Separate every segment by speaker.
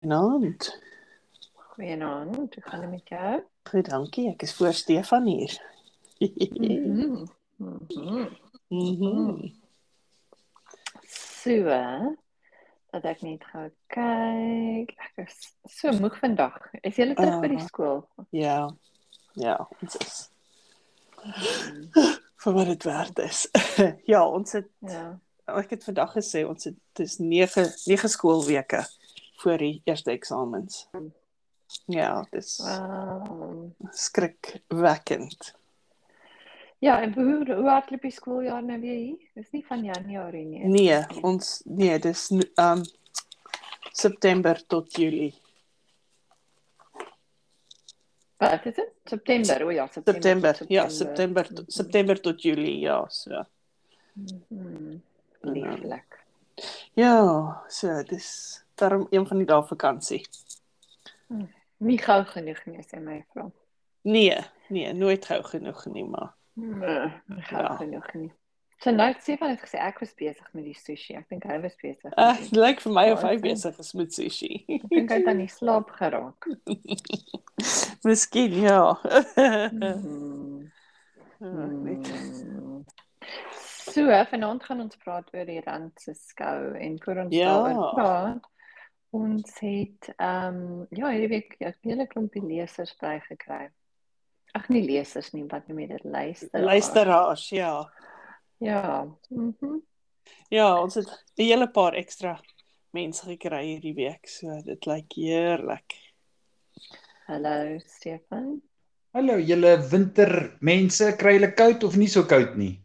Speaker 1: Goeienaand.
Speaker 2: Goeienaand, hoe gaan dit met jou?
Speaker 1: Goed, dankie. Ek is voor Stefan hier.
Speaker 2: Mhm.
Speaker 1: Mm-hmm.
Speaker 2: Mhm.
Speaker 1: Mhm.
Speaker 2: So, dat ek net gou kyk. Ek is so moeg vandag. Is jy terug by die
Speaker 1: Ah.
Speaker 2: skool?
Speaker 1: Ja. Ja, ons is Mm-hmm.
Speaker 2: Mhm.
Speaker 1: vir wat dit werd is. ja, ons het
Speaker 2: Ja.
Speaker 1: ek het vandag gesê ons het dis 9 9 skoolweke voor die eerste eksamens. Ja, dis
Speaker 2: Wow.
Speaker 1: skrikwekkend.
Speaker 2: Ja, en hoe hoe hardloop die skooljaar nou weer hier? Dis nie van Januarie nie.
Speaker 1: Nee, ons nee, dis ehm um, September tot Julie.
Speaker 2: Wat is dit? September, o ja, September.
Speaker 1: September.
Speaker 2: tot
Speaker 1: Ja, September to- September tot Julie, ja, so.
Speaker 2: Mhm. Lieflik.
Speaker 1: Ja, so dis daarom een van die dae vakansie.
Speaker 2: Nie gou genoeg nie, sê my vrou.
Speaker 1: Nee, nee, nooit gou genoeg nie, maar
Speaker 2: Nee, nie gou
Speaker 1: Ja.
Speaker 2: genoeg nie. So nou het Stefan het gesê ek was besig met die sushi. Ek dink hy was besig. met
Speaker 1: uh,
Speaker 2: die-
Speaker 1: dit lyk vir my of
Speaker 2: Ja,
Speaker 1: hy
Speaker 2: ek dink-
Speaker 1: besig is met sushi.
Speaker 2: Ek dink hy het aan die slaap geraak.
Speaker 1: Miskien ja. Ja,
Speaker 2: Mm.
Speaker 1: ek weet.
Speaker 2: So, vanaand gaan ons praat oor die Rand se skou en voor ons
Speaker 1: Ja.
Speaker 2: daaroor praat. Ons het ehm um, ja, hierdie week 'n hele klompie lesers bygekry. Ag nee, lesers nie, wat noem jy dit? Luisteraars.
Speaker 1: Luisteraars, ja.
Speaker 2: Ja. Mhm.
Speaker 1: Ja, ons het 'n hele paar ekstra mense gekry hierdie week, so dit lyk heerlik.
Speaker 2: Hallo Stefan.
Speaker 3: Hallo julle wintermense, kry julle koud of nie so koud nie?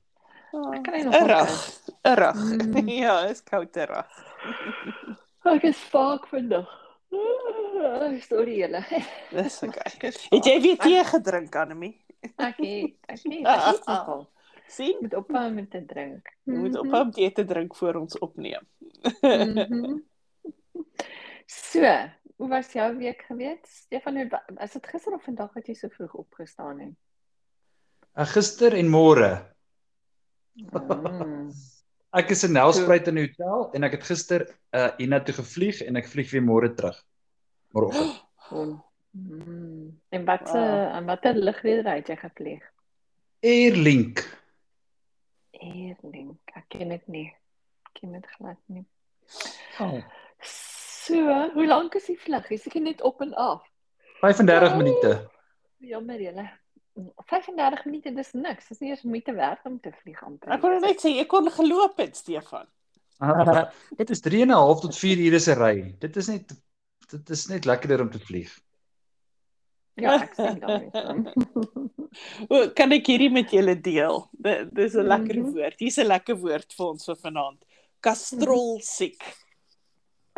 Speaker 2: Ek
Speaker 1: Ah,
Speaker 2: kry nog
Speaker 1: Errig, errig.
Speaker 2: Mm.
Speaker 1: Ja, is koud errig.
Speaker 2: Ek is vaak vandag. Sorry julle.
Speaker 1: Dis okay. Het jy weer tee gedrink, Anemie?
Speaker 2: Ek het ek het ek het nogal.
Speaker 1: sien?
Speaker 2: Ek moet ophou om te drink.
Speaker 1: Jy moet ophou om tee te drink voor ons opneem.
Speaker 2: Mhm. So, hoe was jou week gewees? Stefan, hoe wa- is dit gister of vandag wat jy so vroeg opgestaan het?
Speaker 3: Uh, gister en môre.
Speaker 2: Mm.
Speaker 3: Ek is in Nelspruit in 'n hotel en ek het gister uh hiernatoe gevlieg en ek vlieg weer môre terug. Môreoggend.
Speaker 2: Mhm. Mm. En wat se
Speaker 1: Wow.
Speaker 2: en watter ligreder het jy gepleeg?
Speaker 3: Airlink.
Speaker 2: Eerling, ek ken dit nie. Ek ken dit glad nie.
Speaker 3: Oh.
Speaker 2: So, hoe lank is die vlug? Is dit net op en af?
Speaker 3: 35 minute.
Speaker 2: Jammer julle. 35 minute dis niks. Dis nie eens moeite werd om te vlieg amper.
Speaker 1: Ek kon net sê ek kon geloop het, Stefan.
Speaker 3: Dit is 3 en 'n half tot 4 ure se ry. Dit is net dit is net lekkerder om te vlieg.
Speaker 2: Ja, ek sien dan net.
Speaker 1: O, kan ek hierdie met julle deel? Di- Dis 'n lekker
Speaker 2: Mhm.
Speaker 1: woord. Hier's 'n lekker woord vir ons vir vanaand. Kastrolsiek.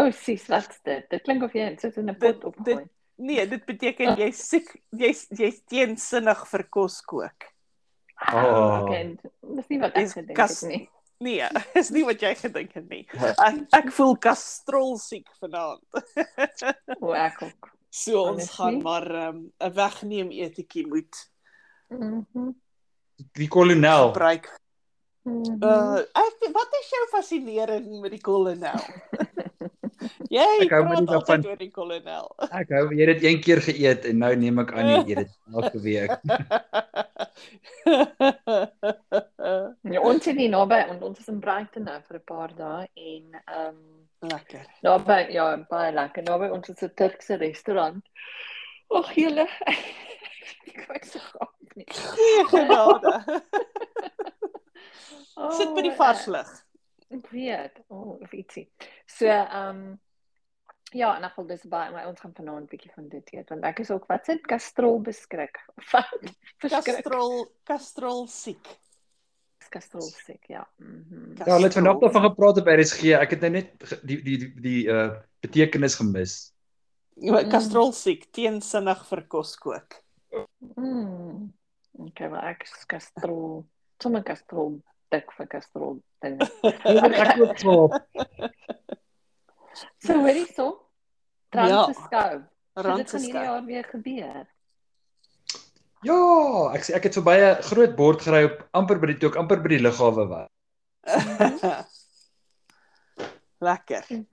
Speaker 2: O, sies, wat's dit? Dit klink of jy dit sit in 'n
Speaker 1: Dit-
Speaker 2: pot opgooi.
Speaker 1: Nee, dit beteken jy's siek, jy's jy's teensinnig vir kos kook.
Speaker 3: Oh.
Speaker 2: Okay, en Ah, dis nie wat ek
Speaker 1: Dis
Speaker 2: gedink
Speaker 1: kas-
Speaker 2: het nie.
Speaker 1: Nee, is nie wat jy gedink het nie. Ek, ek voel kastrolsiek vanaand.
Speaker 2: O, ek ook.
Speaker 1: So ons
Speaker 2: Honestly?
Speaker 1: gaan maar 'n um, wegneem etetjie moet
Speaker 2: Mhm.
Speaker 3: Die kolonel.
Speaker 1: gebruik
Speaker 2: mhm.
Speaker 1: Uh, ek wat is jou fascinering met die kolonel? Jy
Speaker 3: Ek hou maar
Speaker 1: praat
Speaker 3: nie daarvan.
Speaker 1: altyd oor die kolonel.
Speaker 3: Ek hou jy het dit een keer geëet en nou neem ek aan jy eet dit elke week.
Speaker 2: Ja, ons is nie naby en ons is in Brighton nou vir 'n paar dae en ehm um,
Speaker 1: Lekker.
Speaker 2: naby ja, baie lekker. Naby ons is 'n Turkse restaurant. Ag, julle. ek kyk so gaaf nie.
Speaker 1: Goeie genade.
Speaker 2: Oh,
Speaker 1: Sit by die
Speaker 2: eh,
Speaker 1: varslig.
Speaker 2: Ek weet, oh, of ietsie. So, ehm um, ja, in geval dis baie my ons gaan vanaand 'n bietjie van dit eet want ek is ook wat sit kastrol beskrik. Wat? eh, Verskrik.
Speaker 1: Kastrol, kastrol siek.
Speaker 2: Kastrol siek, ja. Mhm.
Speaker 1: Kas-
Speaker 3: Ja, hulle het vandag
Speaker 1: Kastrol.
Speaker 3: daarvan gepraat op RSG. Ek het nou net ge- die die die, die uh betekenis gemis.
Speaker 1: Kastrol siek, teensinnig vir kos kook.
Speaker 2: Mm. Okay, maar ek is kastrol. Sommige kastrol dik vir kastrol dinge.
Speaker 3: Ek ook slaap.
Speaker 2: So, hoorie so.
Speaker 1: Ja.
Speaker 2: Trans skou. So, dit gaan hierdie
Speaker 1: Randskap.
Speaker 2: jaar weer gebeur.
Speaker 3: Ja, ek sê ek het verby 'n groot bord gery op amper by die toe ek amper by die lughawe was.
Speaker 1: Lekker.
Speaker 2: Mhm.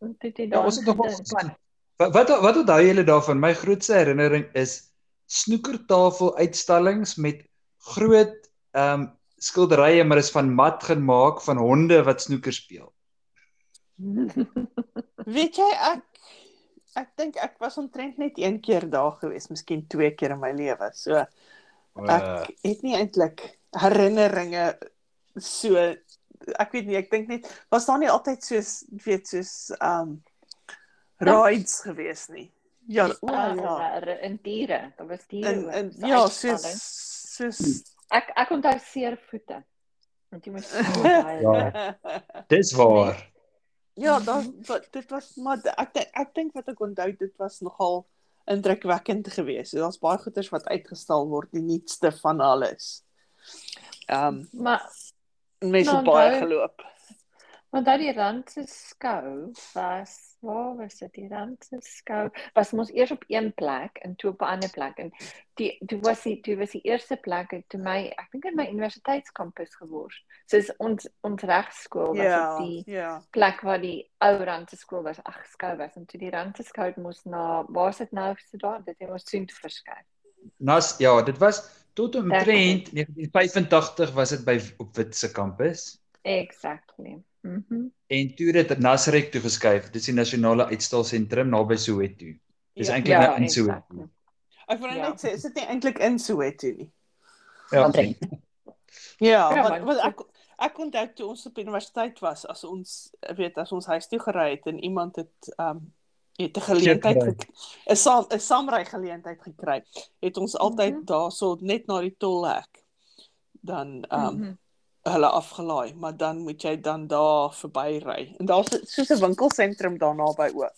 Speaker 2: Dit het
Speaker 3: Ja, ons het nog wel
Speaker 2: gedink.
Speaker 3: geplan. Wat wat wat onthou julle daarvan? My grootste herinnering is snoekertafeluitstallings met groot ehm um, skilderye maar is van mat gemaak van honde wat snoeker speel.
Speaker 1: Weet jy ek ek dink ek was omtrent net een keer daar gewees, miskien twee keer in my lewe. So
Speaker 3: Uh,
Speaker 1: ek het nie eintlik herinneringe so ek weet nie, ek dink net was daar nie altyd soos weet soos um rides gewees nie. Ja, o
Speaker 2: Ah,
Speaker 1: ja.
Speaker 2: er- in diere, daar was diere.
Speaker 1: En
Speaker 2: ook,
Speaker 1: en
Speaker 2: so
Speaker 1: ja, soos
Speaker 2: uitstallings.
Speaker 1: soos
Speaker 2: ek ek onthou seer voete. Want jy moet so baie
Speaker 3: Ja. dis waar.
Speaker 1: Ja,
Speaker 2: Mhm.
Speaker 1: daar wat dit was maar ek dink- ek dink wat ek onthou dit was nogal indrukwekkend geweest. So daar's baie goeders wat uitgestal word, die nuutste van alles. Ehm
Speaker 2: Maar
Speaker 1: um, mense
Speaker 2: Nou,
Speaker 1: het baie
Speaker 2: onthou-
Speaker 1: geloop.
Speaker 2: want daai die rand se skou was waar was dit die rand se skou was mos eers op een plek en toe op 'n ander plek en die toe was die toe was die eerste plek en toe my ek dink in my universiteitskampus gewors. Soos ons ons regskool was
Speaker 1: Ja,
Speaker 2: op die
Speaker 1: ja.
Speaker 2: plek waar die ou Randse skool was, ag skou was en toe die Randse skou het moes na waar's dit nou so daar dit het ons soontoe verskuif.
Speaker 3: Nas ja, dit was tot omtrent 1985 was dit by op Wit se kampus
Speaker 2: Exactly. Mhm. Mm
Speaker 3: en toe het dit Nasrek toe geskuif. Dis die nasionale uitstalsentrum naby Soweto. Dis
Speaker 1: Ja.
Speaker 3: eintlik nou in Soweto.
Speaker 1: Ek wou nou
Speaker 2: Ja.
Speaker 1: net sê, is dit nie eintlik in Soweto nie?
Speaker 3: Ja.
Speaker 2: Omtrent.
Speaker 1: Ja, want
Speaker 2: Ja, maar-
Speaker 1: want ek ek onthou toe ons op universiteit was, as ons weet as ons huis toe gery het en iemand het ehm um, het 'n geleentheid
Speaker 3: Seetry.
Speaker 1: gek- 'n saam 'n saamry geleentheid gekry, het ons altyd mm
Speaker 2: Mhm.
Speaker 1: -hmm. daarso net na die tolhek dan ehm um, mm
Speaker 2: Um,
Speaker 1: -hmm.
Speaker 2: mm -hmm.
Speaker 1: hulle afgelaai, maar dan moet jy dan daar verbyry. En daar's soos 'n winkelsentrum daar naby ook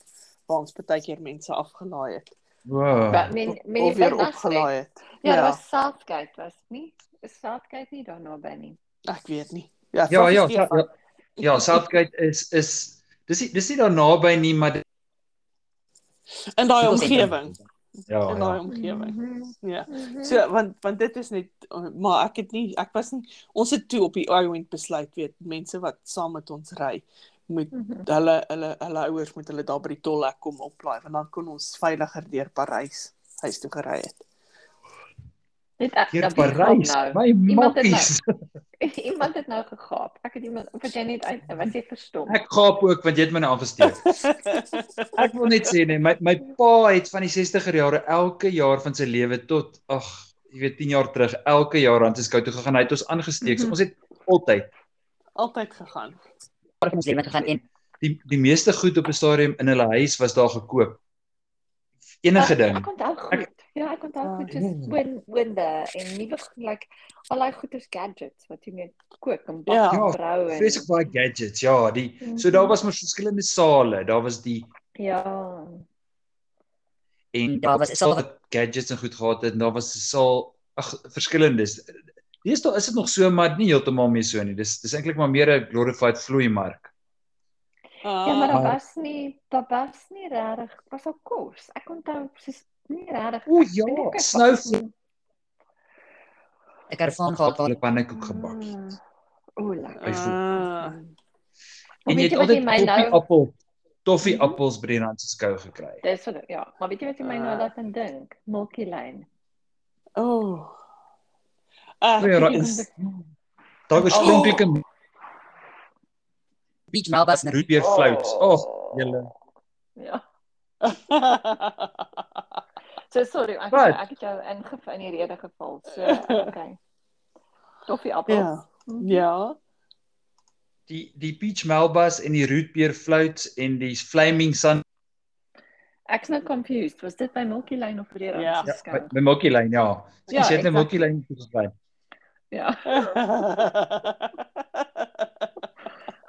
Speaker 1: waar ons baie keer mense afgelaai het
Speaker 2: Wat
Speaker 3: Wow.
Speaker 2: men men
Speaker 1: of
Speaker 2: het
Speaker 1: weer
Speaker 2: by Nasrek-
Speaker 1: opgelaai het.
Speaker 2: Ja, ja. was Southgate was het nie. Is Southgate nie daar naby nie.
Speaker 1: Ek weet nie. Ja,
Speaker 3: Ja,
Speaker 1: vraag
Speaker 3: ja, ja.
Speaker 1: Stefan.
Speaker 3: ja. Ja, Southgate is is dis nie dis nie daar naby nie, maar dit-
Speaker 1: in daai omgewing,
Speaker 3: Ja,
Speaker 1: in
Speaker 3: ja.
Speaker 1: daai omgewing.
Speaker 2: Mhm.
Speaker 1: Ja.
Speaker 2: Mhm.
Speaker 1: So want want dit is net eh, maar ek het nie ek was nie ons het toe op die Iwind besluit weet mense wat saam met ons ry moet
Speaker 2: Mhm.
Speaker 1: hulle hulle hulle ouers moet hulle daar by die tolhek kom oplaai want dan kon ons veiliger deur Parys huis toe gery het.
Speaker 2: Dit ek
Speaker 3: Hier
Speaker 2: dat
Speaker 3: Parys.
Speaker 2: nou.
Speaker 3: My
Speaker 2: Iemand het
Speaker 3: makkies.
Speaker 2: Iemand het nou gegaap. Ek het iemand of het jy net uit was jy verstom.
Speaker 3: Ek gaap ook want jy het my nou aangesteek. Ek wil net sê nee, my my pa het van die 60er jare elke jaar van sy lewe tot ag, jy weet 10 jaar terug elke jaar aan te skou toe gegaan. Hy het ons aangesteek. So
Speaker 2: Mhm.
Speaker 3: ons het altyd
Speaker 1: Altyd gegaan.
Speaker 4: Park in ons lewe gegaan en
Speaker 3: die die meeste goed op 'n stadium in hulle huis was daar gekoop. Enige
Speaker 2: Ek-
Speaker 3: ding.
Speaker 2: Ek onthou goed. Ja, ek onthou
Speaker 1: Ah,
Speaker 2: goed soos
Speaker 3: ja.
Speaker 2: wind winde en nuwe goed, like al daai goeders gadgets wat jy mee kook en bak
Speaker 1: Ja.
Speaker 2: en
Speaker 3: Ja,
Speaker 2: brou en Mm-hmm.
Speaker 3: Vreeslik baie gadgets. Ja, die so daar was mos verskillende sale. Daar was die
Speaker 2: Ja.
Speaker 3: en
Speaker 4: Daar was 'n saal
Speaker 3: wat gadgets en goed gehad het en daar was 'n saal ag verskillendes. Deesdae is dit nog so maar nie heeltemal meer so nie. Dis dis eintlik maar meer 'n glorified vloeimark.
Speaker 2: Ja, maar daar
Speaker 3: Ah.
Speaker 2: was nie daar was nie regtig was al kos. Ek onthou soos nie regtig
Speaker 3: O
Speaker 2: ek weet nie, ek-
Speaker 3: ja, snoufie
Speaker 4: 'n karavaan gehad Hmm. waar
Speaker 3: hulle pannekoek gebak het.
Speaker 2: Ah, O, lekker.
Speaker 1: Ah,
Speaker 3: En jy het altyd
Speaker 2: my nou
Speaker 3: koffie appel, toffee
Speaker 2: Mhm.
Speaker 3: appels by die Randse skou gekry.
Speaker 2: dis wat ja, maar weet jy wat jy my nou
Speaker 1: Ah.
Speaker 2: laat aan dink? Milky Lane.
Speaker 1: oh. Ah,
Speaker 3: Nee, ra-
Speaker 1: is,
Speaker 3: Daar was
Speaker 1: Oh.
Speaker 3: springpiek en
Speaker 4: Beach Melbas en
Speaker 3: roetbeer
Speaker 2: Oh.
Speaker 3: Oh, flouts.
Speaker 1: Oh.
Speaker 3: Ag, julle.
Speaker 2: Ja. So sorry, ek
Speaker 3: Wat?
Speaker 2: ek het jou ingeval in die rede geval. So okay. Toffie appels.
Speaker 1: ja. Ja.
Speaker 3: die die peach melbas en die roetbeer flouts en die flaming sun
Speaker 2: Ek's nou confused. Was dit by Milky Lane of Rere?
Speaker 1: Ja.
Speaker 3: ja, by, by Milky Lane, ja.
Speaker 2: Ja,
Speaker 3: Jy het 'n
Speaker 2: exact.
Speaker 3: Milky Lane toe gekry.
Speaker 2: ja.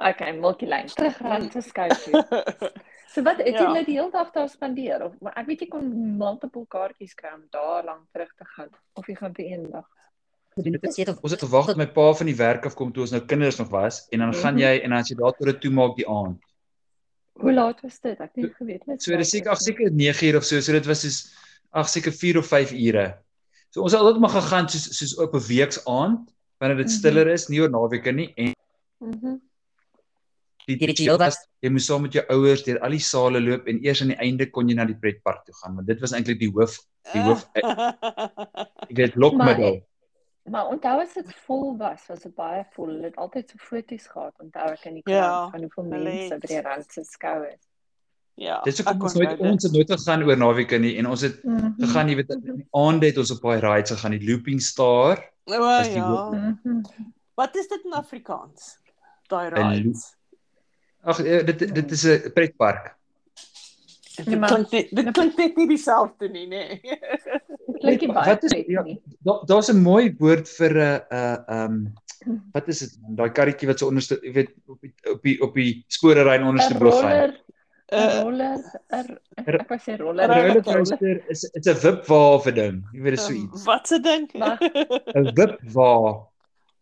Speaker 2: Okay, Milky Lane. Terug rand te skuif. hier. So wat het
Speaker 1: Ja.
Speaker 2: jy nou die hele dag daar spandeer of maar ek weet jy kon multiple kaartjies kry om daar lank terug te gaan of jy gaan vir eendag.
Speaker 4: gedoen. Dit het
Speaker 3: Ons het gewag dat my pa van die werk af kom toe ons nou kinders nog was en dan
Speaker 2: Mhm.
Speaker 3: gaan jy en dan as jy daar tot dit toemaak die aand.
Speaker 2: Hoe laat was dit? ja. Ek het nie geweet net.
Speaker 3: So dis seker ag seker 9 uur of so, so dit was soos ag seker 4 of 5 ure. So ons het altyd maar gegaan soos soos op 'n weeks aand wanneer dit
Speaker 2: Mhm.
Speaker 3: stiller is, nie oor naweke nie en
Speaker 2: Mhm.
Speaker 3: die
Speaker 4: Die ritueel was-
Speaker 3: jy moes saam met jou ouers deur al die sale loop en eers aan die einde kon jy na die pretpark toe gaan, want dit was eintlik die hoof, die hoof- jy weet, lokmiddel.
Speaker 2: Maar onthou as dit vol was, was dit baie vol. Hulle het altyd so foto's gehad. Onthou ek in die
Speaker 1: Ja,
Speaker 2: krant ja, van hoeveel
Speaker 1: hulle
Speaker 2: mense
Speaker 1: het.
Speaker 2: by die Randse skou is.
Speaker 1: ja.
Speaker 3: Dit is
Speaker 1: ek
Speaker 3: hoekom ons
Speaker 1: onthou
Speaker 3: nooit
Speaker 1: dit.
Speaker 3: ons het nooit gegaan oor naweke nie en ons het gegaan, jy weet, in die aande het ons op daai rides gegaan, die Looping Star,
Speaker 1: O
Speaker 3: is die
Speaker 1: ja.
Speaker 2: Mhm.
Speaker 1: Wat is dit in Afrikaans? Daai
Speaker 3: Een
Speaker 1: rides.
Speaker 3: Ag eh, dit dit is 'n pretpark.
Speaker 1: Dit
Speaker 2: Ja, maar-
Speaker 1: klink net dit klink net nie dieselfde nie, nee. nê.
Speaker 2: Klink nie baie
Speaker 3: Wat is-
Speaker 2: pret
Speaker 3: ja,
Speaker 2: nie.
Speaker 3: Da- Daar's 'n mooi woord vir 'n 'n ehm wat is dit? man? Daai karretjie wat so onderste, jy weet, op die op die op die spore ry en
Speaker 2: 'n
Speaker 3: onderste brug gaan.
Speaker 2: roller,
Speaker 3: Eh,
Speaker 1: Eh,
Speaker 2: 'n roller, 'n
Speaker 3: er-
Speaker 2: ek wou sê roller,
Speaker 1: roller
Speaker 2: roller.
Speaker 3: Rollercoaster is it's 'n wipwa vir ding. Jy weet, dis so
Speaker 1: ehm,
Speaker 3: iets.
Speaker 1: Wat se ding?
Speaker 2: Wag.
Speaker 3: 'n Wipwa.
Speaker 1: Oh,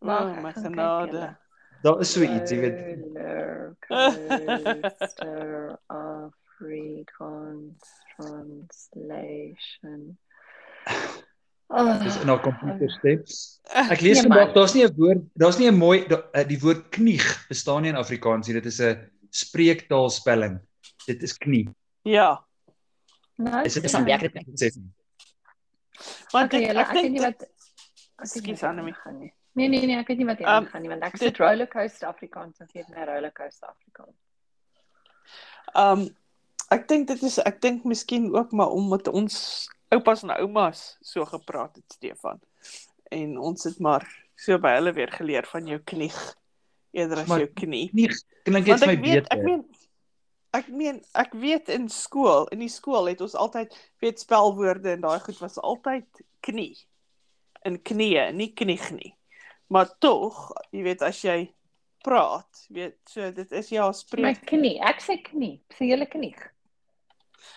Speaker 2: Wag,
Speaker 1: my
Speaker 2: ek gaan kyk
Speaker 1: genade.
Speaker 3: Daar is so iets, jy weet.
Speaker 2: Ah. Rollercoaster Afrikaans translation.
Speaker 3: Dis
Speaker 2: Oh,
Speaker 3: in haar komputer steps. Ek lees
Speaker 2: Nee,
Speaker 3: vandag
Speaker 2: maar-
Speaker 3: daar's nie 'n woord, daar's nie 'n mooi da- eh, die woord knieg bestaan nie in Afrikaans nie. Dit is 'n spreektaalspelling. Dit is knie.
Speaker 1: Ja.
Speaker 2: nou,
Speaker 3: Is dit
Speaker 4: Dis aan
Speaker 2: ja.
Speaker 4: werk dit nie.
Speaker 3: sê nie.
Speaker 1: Want
Speaker 2: Okay,
Speaker 1: ek,
Speaker 2: julle,
Speaker 1: ek
Speaker 2: ek weet
Speaker 1: dink
Speaker 2: nie
Speaker 1: dit
Speaker 2: wat ek weet nie
Speaker 1: Ekskuus,
Speaker 2: wat
Speaker 1: Annelie.
Speaker 2: aangaan nie. Nee nee nee, ek weet nie wat hier
Speaker 1: Um,
Speaker 2: aangaan nie want ek
Speaker 1: dit-
Speaker 2: sit rollercoaster Afrikaans en sê net rollercoaster Afrikaans.
Speaker 1: ehm um, ek dink dit is ek dink miskien ook maar omdat ons oupas en oumas so gepraat het Stefan. En ons het maar so by hulle weer geleer van jou knie eerder as
Speaker 3: Maar-
Speaker 1: jou knie.
Speaker 3: Knie klink net
Speaker 1: Want
Speaker 3: vir my
Speaker 1: ek weet, ek
Speaker 3: beter.
Speaker 1: meen ek meen ek weet in skool, in die skool het ons altyd weet spelwoorde en daai goed was altyd knie. In knieë, nie knieg nie. Maar tog, jy weet as jy praat, weet so dit is ja
Speaker 2: My
Speaker 1: spreek.
Speaker 2: knie, ek sê knie, sê julle knie.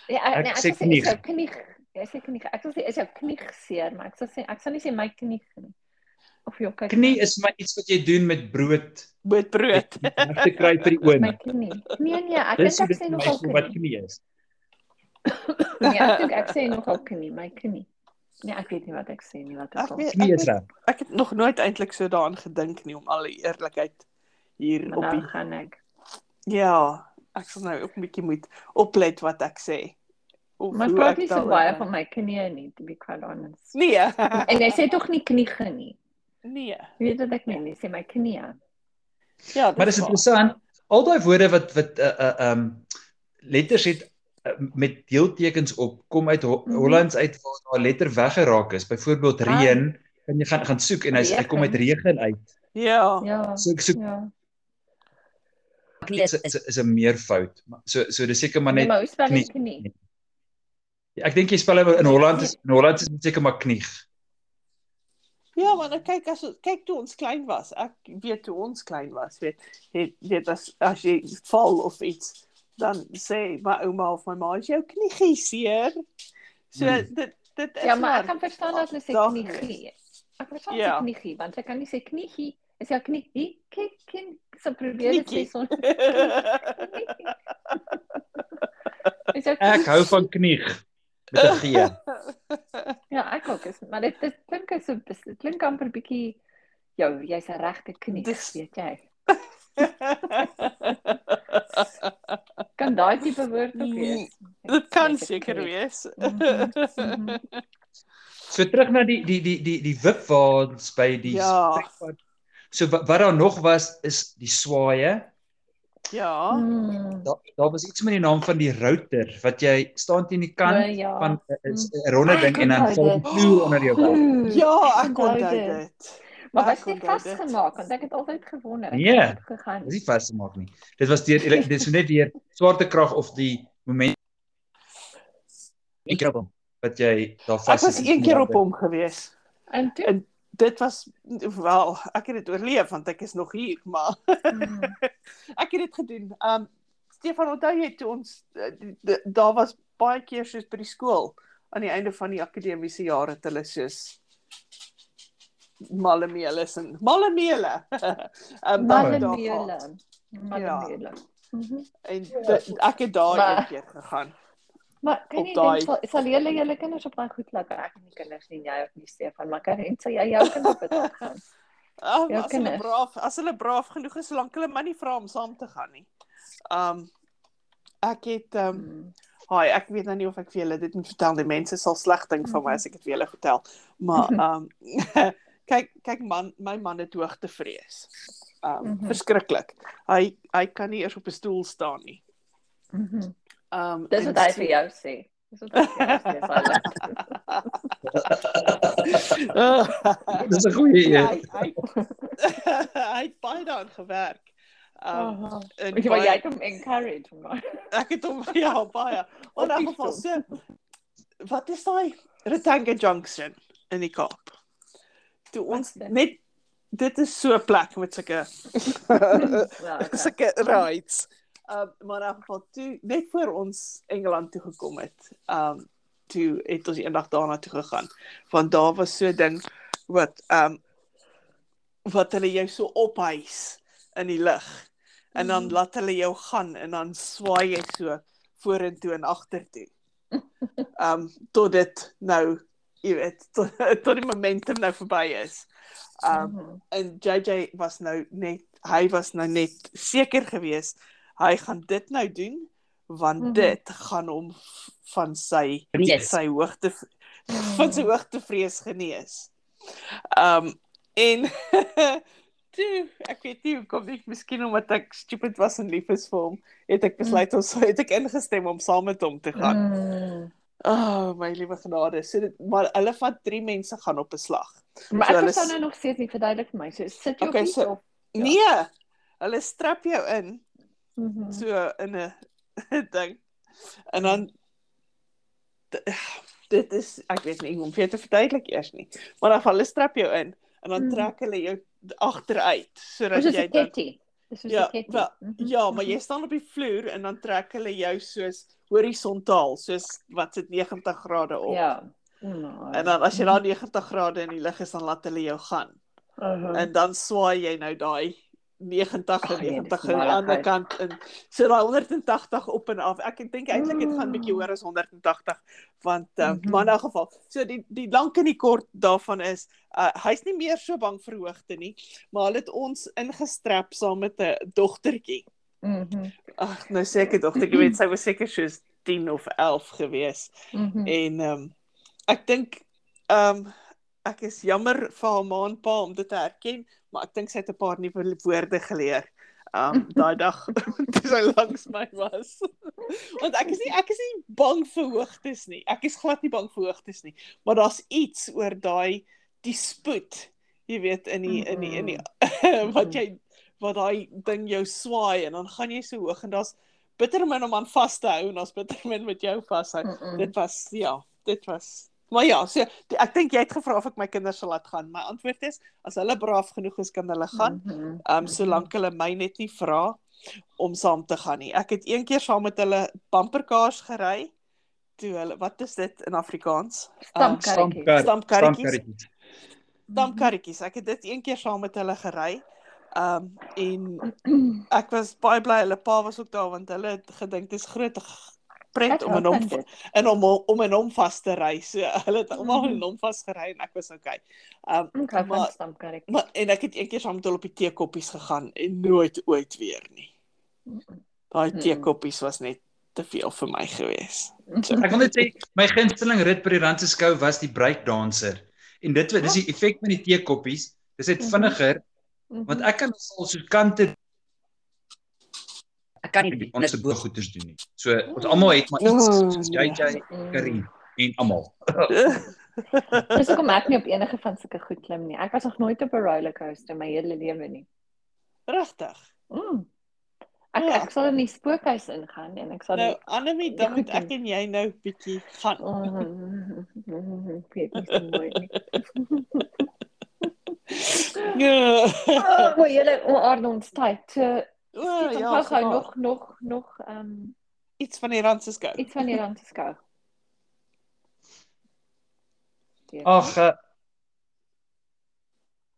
Speaker 2: Ja,
Speaker 3: Ek
Speaker 2: nee,
Speaker 3: sê
Speaker 2: ek sê
Speaker 3: knie.
Speaker 2: is jou knie. Jy sê knie. Ek sal sê is jou knie seer, maar ek sal sê ek sal nie sê my knie nie. Of jou kyk.
Speaker 3: Knie is maar iets wat jy doen met brood
Speaker 1: met brood.
Speaker 3: om te kry vir die oond.
Speaker 2: my knie. Nee nee, ek
Speaker 3: Dis
Speaker 2: dink
Speaker 3: hoe
Speaker 2: ek
Speaker 3: dit
Speaker 2: sê
Speaker 3: vir my
Speaker 2: nogal
Speaker 3: voel wat
Speaker 2: knie.
Speaker 3: knie is.
Speaker 2: Nee, ek dink ek sê nogal knie, my knie. Nee, ek weet nie wat ek sê nie, wat
Speaker 1: Ek
Speaker 2: is al.
Speaker 1: weet,
Speaker 3: Knie
Speaker 1: ek,
Speaker 3: is
Speaker 1: weet,
Speaker 3: reg.
Speaker 1: ek het nog nooit eintlik so daaraan gedink nie om alle eerlikheid hier
Speaker 2: Maar
Speaker 1: op
Speaker 2: nou
Speaker 1: die
Speaker 2: gaan ek.
Speaker 1: ja, ek sal nou ook 'n bietjie moet oplet wat ek sê. Of
Speaker 2: Maar
Speaker 1: hoe
Speaker 2: praat
Speaker 1: ek
Speaker 2: nie so
Speaker 1: daaroor
Speaker 2: baie
Speaker 1: dink.
Speaker 2: van my knie nie, to be quite honest.
Speaker 1: Nee.
Speaker 2: En jy sê tog nie knie nie.
Speaker 1: nee.
Speaker 2: Jy weet wat ek meen, jy sê my knie.
Speaker 1: Ja,
Speaker 3: Maar dis
Speaker 1: waar.
Speaker 3: interessant. Al daai woorde wat wat uh uh um letters het uh, met deeltekens op kom uit Ho
Speaker 2: Mhm.
Speaker 3: Hollands uit waar daai letter weggeraak is. Byvoorbeeld
Speaker 2: Ah.
Speaker 3: reën, kan jy gaan gaan soek en hy sê hy kom uit regen uit.
Speaker 1: Ja.
Speaker 2: Ja.
Speaker 3: So ek soek
Speaker 2: Ja.
Speaker 4: Knie
Speaker 3: is
Speaker 4: is
Speaker 3: is, is 'n meervout. Maar So so dis seker maar
Speaker 2: Maar net Nee,
Speaker 3: net
Speaker 2: maar hoe spel jy
Speaker 3: knie.
Speaker 2: knie?
Speaker 3: ek dink jy spel hom in Holland is in Holland is dit seker maar knie.
Speaker 1: Ja, maar nou kyk as ons- kyk toe ons klein was. Ek weet toe ons klein was, weet het weet as as jy val of iets, dan sê my ouma of my ma, "Is jou knie seer?" So
Speaker 3: Hmm.
Speaker 1: dit dit is
Speaker 2: Ja, maar
Speaker 1: maar
Speaker 2: ek kan verstaan dat hulle sê
Speaker 1: Dag
Speaker 2: knie. Ek verstaan
Speaker 1: Ja.
Speaker 2: ja. knie, want jy kan nie sê knie is jou knie. Kyk, kyk, so probeer dit sê
Speaker 1: Kniekie.
Speaker 2: son. Is jou
Speaker 3: Ek
Speaker 2: knie-
Speaker 3: hou van knie met 'n G.
Speaker 2: Ja, ek ook is, maar dit dit klink asof dit klink amper bietjie jou jy's 'n regte knie,
Speaker 1: Dis-
Speaker 2: weet jy. Kan daai tipe woord ook wees?
Speaker 1: dit kan
Speaker 2: Jy's 'n
Speaker 1: seker
Speaker 2: knie.
Speaker 1: wees.
Speaker 2: Mhm, mhm.
Speaker 3: So terug na die die die die die wipwaans by die
Speaker 1: Ja.
Speaker 3: trekpad. So wat, wat daar nog was is die swaaye.
Speaker 1: Ja.
Speaker 2: Mm.
Speaker 3: Daar daar was iets met die naam van die router wat jy staan teen die
Speaker 2: O,
Speaker 3: kant
Speaker 2: ja.
Speaker 3: van
Speaker 1: Mm.
Speaker 3: 'n- 'n ronde
Speaker 1: Oh,
Speaker 2: Ah,
Speaker 3: ding en dan
Speaker 2: ek
Speaker 3: val
Speaker 2: onthou
Speaker 3: die vloer onder jou weg.
Speaker 2: Mm.
Speaker 1: Ja, ek
Speaker 2: Onthou
Speaker 1: onthou
Speaker 2: dit.
Speaker 1: dit.
Speaker 2: Maar was
Speaker 1: Ek
Speaker 2: dit
Speaker 1: onthou dit.
Speaker 2: vasgemaak? Want ek het altyd gewonder. Ek
Speaker 3: Nee.
Speaker 2: het dit gegaan.
Speaker 3: Dis nie vasgemaak nie. Dit was deur ele- dit is net deur swaartekrag of die moment
Speaker 4: Ek roep hom.
Speaker 3: wat jy daar vas
Speaker 1: Ek was een keer op hom gewees.
Speaker 2: En toe
Speaker 1: En- Dit was wel, ek het dit oorleef want ek is nog hier, maar
Speaker 2: Mm.
Speaker 1: Ek het dit gedoen. Um Stefan, onthou jy toe ons eh, die- die- daar was baie keer soos by die skool aan die einde van die akademiese jaar het hulle soos malemele sing. Malemele. um,
Speaker 2: Malemele.
Speaker 1: Ja.
Speaker 2: Malemele. Mhm.
Speaker 1: En dit, ek het daar
Speaker 2: Maar-
Speaker 1: een keer gegaan.
Speaker 2: Maar kan
Speaker 1: Op
Speaker 2: jy
Speaker 1: daai-
Speaker 2: dink sal- sal julle julle kinders op daai goed laat ek en die kinders nie jy of nie Stefan, maar Karen, sal jy jou kind op dit laat gaan?
Speaker 1: Ah, ja, as
Speaker 2: Ja,
Speaker 1: hulle
Speaker 2: kinders.
Speaker 1: braaf, as hulle braaf genoeg is, solank hulle my nie vra om saam te gaan nie. Um ek het um
Speaker 2: Mm.
Speaker 1: Hi, ek weet nou nie of ek vir julle dit moet vertel nie. Mense sal sleg dink van my as ek dit vir julle vertel. Maar ehm um, kyk kyk man, my man het hoogtevrees. Ehm um,
Speaker 2: Mhm.
Speaker 1: verskriklik. Hy hy kan nie eers op 'n stoel staan nie.
Speaker 2: Mhm.
Speaker 1: Ehm um,
Speaker 2: Dis wat hy vir jou sê. Dis wat hy vir jou sê. Silent.
Speaker 3: Dis 'n goeie eh,
Speaker 1: ja,
Speaker 3: een.
Speaker 1: hy hy hy het baie daaraan gewerk. Ehm um,
Speaker 2: Aha.
Speaker 1: en
Speaker 2: Oh. Weet jy wat jy het hom encourage maar.
Speaker 1: ek het hom ja baie. In elk geval
Speaker 2: Op
Speaker 1: so wat is daai Retanga Junction in die Kaap. Toe ons
Speaker 2: Wat is dit?
Speaker 1: net dit is so 'n plek met sulke
Speaker 2: Ja, okay.
Speaker 1: sulke rides. Um Ehm, maar in elk geval toe net voor ons Engeland toe gekom het. Um toe het ons eendag daarna toe gegaan want daar was so 'n ding wat um wat hulle jou so ophys in die lug en dan
Speaker 2: Mhm.
Speaker 1: laat hulle jou gaan en dan swaai jy so vorentoe en agtertoe. Um tot dit nou jy weet tot, tot die momentum nou verby is. Um
Speaker 2: Mhm.
Speaker 1: en JJ was nou net hy was nou net seker gewees hy gaan dit nou doen want mm
Speaker 2: Mhm.
Speaker 1: -hmm. dit gaan hom v- van sy
Speaker 4: Yes.
Speaker 1: sy hoogte
Speaker 2: Mhm.
Speaker 1: van sy hoogtevrees genees. Um en toe ek weet nie hoekom nie, miskien omdat ek stupid was en lief is vir hom, het ek besluit ons het ek ingestem om saam met hom te gaan.
Speaker 2: Mm.
Speaker 1: Oh, my liewe genade. So dit maar hulle vat 3 mense gaan op 'n slag.
Speaker 2: Maar
Speaker 1: So
Speaker 2: ek
Speaker 1: hulle
Speaker 2: verstaan
Speaker 1: s-
Speaker 2: nou nog steeds nie verduidelik vir my. So sit jy
Speaker 1: Okay,
Speaker 2: op
Speaker 1: so-
Speaker 2: so. Ja.
Speaker 1: Ja. Nee, hulle strap jou in
Speaker 2: Mhm.
Speaker 1: so in 'n ding. En dan dit is ek weet nie hoe om vir jou te verduidelik eers nie. Maar dan hulle strap jou in en dan
Speaker 2: Mhm.
Speaker 1: trek hulle jou agteruit sodat
Speaker 2: Dis soos
Speaker 1: jy
Speaker 2: 'n
Speaker 1: dan
Speaker 2: ketty. Dis soos 'n
Speaker 1: Ja,
Speaker 2: ketty.
Speaker 1: wel,
Speaker 2: Mhm.
Speaker 1: ja, maar jy staan op die vloer en dan trek hulle jou soos horisontaal, soos wat sit 90 grade op.
Speaker 2: Ja. Mm.
Speaker 1: En dan as jy daar 90 grade in die lug is, dan laat hulle jou gaan.
Speaker 2: Mhm.
Speaker 1: en dan swaai jy nou daai 90
Speaker 2: Ag,
Speaker 1: en
Speaker 2: nee, dis
Speaker 1: 90 aan die
Speaker 2: maligheid.
Speaker 1: ander kant in. So daai 180 op en af. Ek dink eintlik dit gaan bietjie
Speaker 2: Mm.
Speaker 1: hoër as 180 want uh, mm
Speaker 2: Mhm.
Speaker 1: -hmm. maar in 'n geval. So die die lank en die kort daarvan is uh, hy's nie meer so bang vir hoogte nie, maar hulle het ons ingestrap saam met 'n dogtertjie.
Speaker 2: Mhm.
Speaker 1: Ag, nou seker dogtertjie, weet sy was seker soos 10 of 11 gewees.
Speaker 2: Mhm.
Speaker 1: En ehm um, ek dink ehm um, ek is jammer vir haar ma en pa om dit te herken, maar ek dink sy het 'n paar nuwe woorde geleer. Um daai dag toe sy langs my was. Want ek is nie ek is nie bang vir hoogtes nie. Ek is glad nie bang vir hoogtes nie, maar daar's iets oor daai die spoed, jy weet in die in die in die wat jy wat daai ding jou swaai en dan gaan jy so hoog en daar's bitter min om aan vas te hou en daar's bitter min wat jou vashou.
Speaker 2: Mhm.
Speaker 1: Dit was ja, dit was. Maar ja, so die- ek dink jy het gevra of ek my kinders sal laat gaan. My antwoord is as hulle braaf genoeg is kan hulle gaan.
Speaker 2: Mhm.
Speaker 1: Ehm um, solank hulle my net nie vra om saam te gaan nie. Ek het een keer saam met hulle bumperkaars gery. Toe hulle wat is dit in Afrikaans?
Speaker 2: Mhm. Stampkarretjie.
Speaker 3: Stampkar-
Speaker 1: Stampkarretjies.
Speaker 3: stampkarretjies.
Speaker 1: Stampkarretjies. Ek het dit een keer saam met hulle gery. Ehm um, en ek was baie bly hulle pa was ook daar want hulle het gedink dis groot g- pret
Speaker 2: Ek
Speaker 1: om
Speaker 2: hou
Speaker 1: en om
Speaker 2: van dit.
Speaker 1: en om om en om vas te ry. So hulle het almal
Speaker 2: Mhm.
Speaker 1: in hom vasgery en ek was okay. Um
Speaker 2: Ek hou van
Speaker 1: Maar-
Speaker 2: stampkarretjie.
Speaker 1: maar en ek het eendag saam met hulle op die teekoppies gegaan en nooit ooit weer nie. Daai
Speaker 2: Mhm.
Speaker 1: teekoppies was net te veel vir my gewees.
Speaker 3: Ek wil net sê my gunsteling rit by die Randse skou was die breakdancer. En dit wat- dis die effek van die teekoppies. Dis net
Speaker 2: Mhm.
Speaker 3: vinniger
Speaker 2: Mhm.
Speaker 3: want ek kan al so kante
Speaker 4: Ek kan Dus nie
Speaker 3: die
Speaker 4: die
Speaker 3: onderste
Speaker 4: onderste
Speaker 3: bo
Speaker 4: boog.
Speaker 3: goeders doen nie. So ons almal het maar iets
Speaker 1: Oh,
Speaker 3: soos
Speaker 1: nee.
Speaker 2: Mm-hmm.
Speaker 3: JJ Karin en almal.
Speaker 2: Dis hoekom ek nie op enige van sulke goed klim nie. Ek was nog nooit op 'n roller coaster my hele lewe nie.
Speaker 1: Regtig.
Speaker 2: Mm. Ek
Speaker 1: Ja.
Speaker 2: ek sal in die spookhuis ingaan en ek sal
Speaker 1: Nou
Speaker 2: nie-
Speaker 1: Annelie, dan moet ek en jy nou bietjie gaan.
Speaker 2: Mm, ek weet nie so mooi nie.
Speaker 1: Ja.
Speaker 2: Oh, maar julle oordaar ons tyd. So,
Speaker 1: O,
Speaker 2: Stefan,
Speaker 1: ja,
Speaker 2: gou gou
Speaker 1: nog
Speaker 2: nog nog nog ehm um,
Speaker 1: iets van die Randseskou.
Speaker 2: iets van die land skou.
Speaker 3: Ag, eh,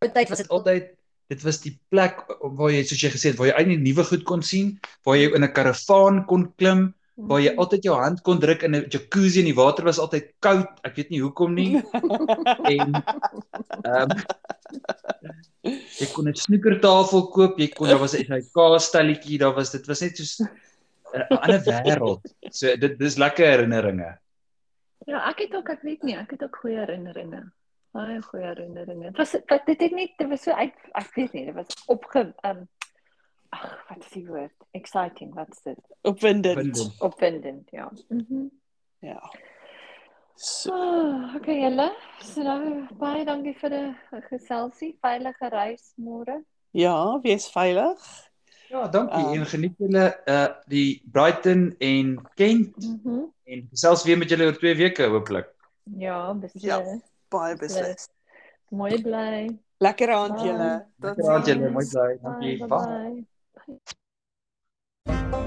Speaker 4: Op tyd was
Speaker 3: was
Speaker 4: dit
Speaker 3: dit altyd dit was die plek waar jy soos jy gesê het waar jy eintlik nuwe goed kon sien, waar jy in 'n karavaan kon klim, waar
Speaker 2: Mm.
Speaker 3: jy altyd jou hand kon druk in 'n jacuzzi en die water was altyd koud. Ek weet nie hoekom nie. en ehm um, jy kon 'n snoekertafel koop, jy kon daar was 'n SIK stelletjie, daar was dit was net so 'n ander wêreld. So dit dis lekker herinneringe.
Speaker 2: Ja, ek het ook ek weet nie, ek het ook goeie herinneringe. Baie goeie herinneringe. Dit was wat dit het net dit was so uit ek weet nie, dit was opge um ag, wat is die woord? Exciting, wat's dit?
Speaker 1: Opwindend.
Speaker 3: Opwindend.
Speaker 2: Opwindend, ja. Mhm.
Speaker 1: Ja. So,
Speaker 2: Oh, okay, julle. So nou baie dankie vir 'n geselsie. Veilige reis môre.
Speaker 1: ja, wees veilig.
Speaker 3: Ja, dankie
Speaker 1: Ehm.
Speaker 3: en geniet julle uh die Brighton en Kent
Speaker 2: Mhm.
Speaker 3: en selfs weer met julle oor 2 weke hopelik.
Speaker 2: Ja,
Speaker 1: Ja.
Speaker 2: beslis.
Speaker 1: Baie beslis.
Speaker 2: Mooi bly.
Speaker 1: Lekker aand
Speaker 2: Bye.
Speaker 1: julle.
Speaker 3: Lekker aand
Speaker 2: ziens.
Speaker 3: julle, mooi bly.
Speaker 2: Bye.
Speaker 3: Dankie. Bye.
Speaker 2: bye-bye.